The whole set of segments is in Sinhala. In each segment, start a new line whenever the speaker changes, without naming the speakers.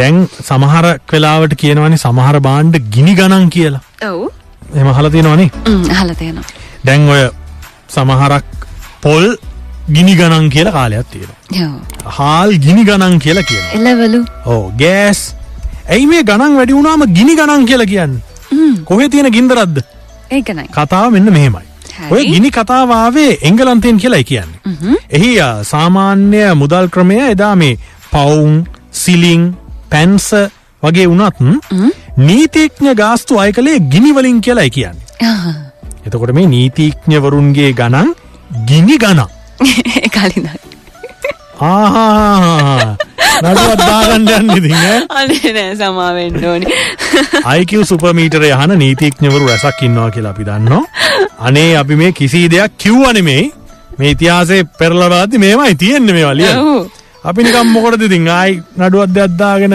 දැන් සමහර වෙලාවට කියනවනි සමහර බාණ්ඩ ගිනි ගණන් කියලා
ඔව්
එමහල තියෙනවනේ
හල තියෙනවා
දැන් ඔය සමහරක් පොල් ගිනි ගණන් කියලා කාලයක් තියෙන
යෝ
හාල් ගිනි ගණන් කියලා කියන
එලවලු
ඕ ගෑස් ඇයි මේ ගණන් වැඩි වුණාම ගිනි ගණන් කියලා කියන්න කොහේ තියෙන ගින්දරද්ද
ඒකනයි
කතාව මෙන්න මෙහෙමයි ඔය
හරි.
ගිනි කතාවාවේ එංගලන්තයෙන් කියලා කියන්නේ එහි අ, සාමාන්‍ය මුදල් ක්‍රමය එදා මේ පවුන් සිලිං පැන්ස වගේ වනත් නීතිීක්ඥ ගාස්තු අය කළේ ගිනිවලින් කියලායි කියන්නේ එතකොට මේ නීතිීක්ඥවරුන්ගේ ගණන් ගිනි ගණන්
කලින
ආහා නඩුවත් දාගණ්ඩයන් ඉදිහ
අනේ නෑ සමාවෙන්න ඕනි
අයික සුපමීටර යහන නීතිීක්ඥවරු රැසක් ඉන්නවා කියලා අපි දන්නවා. අනේ අපි මේ කිසි දෙයක් කිව්වනමේ මේ ඉතිහාසේ පෙරලවාද මේමයි තියෙන්න්න මේ වලිය
ඔව්.
අපි නිකම් මොකට දෙතින් ආයි නඩුවත් දෙයක්දාගෙන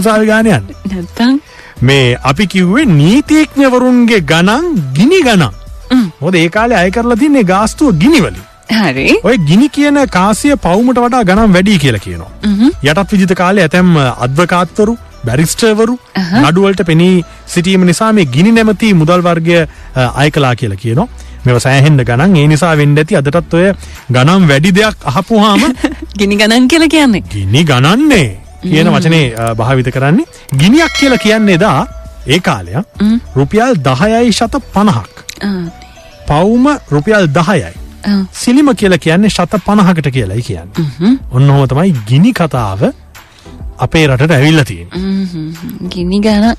උසාවිගානයන්
නැත්තං
මේ අපි කිව්වේ නීතිීක්ඥවරුන්ගේ ගණන් ගිනි ගණන් හොද ඒකාලේ අය කරලා තින්නේ ගාස්තුව ගිනිවලි
හරි
ඔය ගිනි කියන කාසිය පවුමට වඩා ගනම් වැඩි කියලා කියනවා. යටත් විජිත කාලය ඇතැම් අධ්වකාත්තවරු බැරිස්ටවරු නඩුවලට පෙනී සිටීම නිසා මේ ගිනි නැමති මුදල් වර්ගය අ, අය කලා කියලා කියනවා. මෙව සෑහෙන්ඩ ගණන් ඒ නිසා වෙන්ඩ ඇති අදටත් ඔය ගනම් වැඩි දෙයක් අහපුහාම
ගිනි ගණන් කියලා කියන්නේ
ගිනි ගණන්නේ කියන වචනේ අ, භාවිත කරන්නේ. ගිනියක් කියලා කියන්නේ දා ඒ කාලය රුපියල් දහයයි ශත පණහක්.
ආ,
පවුම රුපියල් දහයයි.
ආ.
සිලිම කියලා කියන්නේ ශත පණහකට කියලයි කියන්න ඔන්න හොම තමයි ගිනි කතාව අපේ රටට ඇවිල්ල තියෙන
හ්ම්, හ්ම්, හ්ම්. ගිනි ගණන්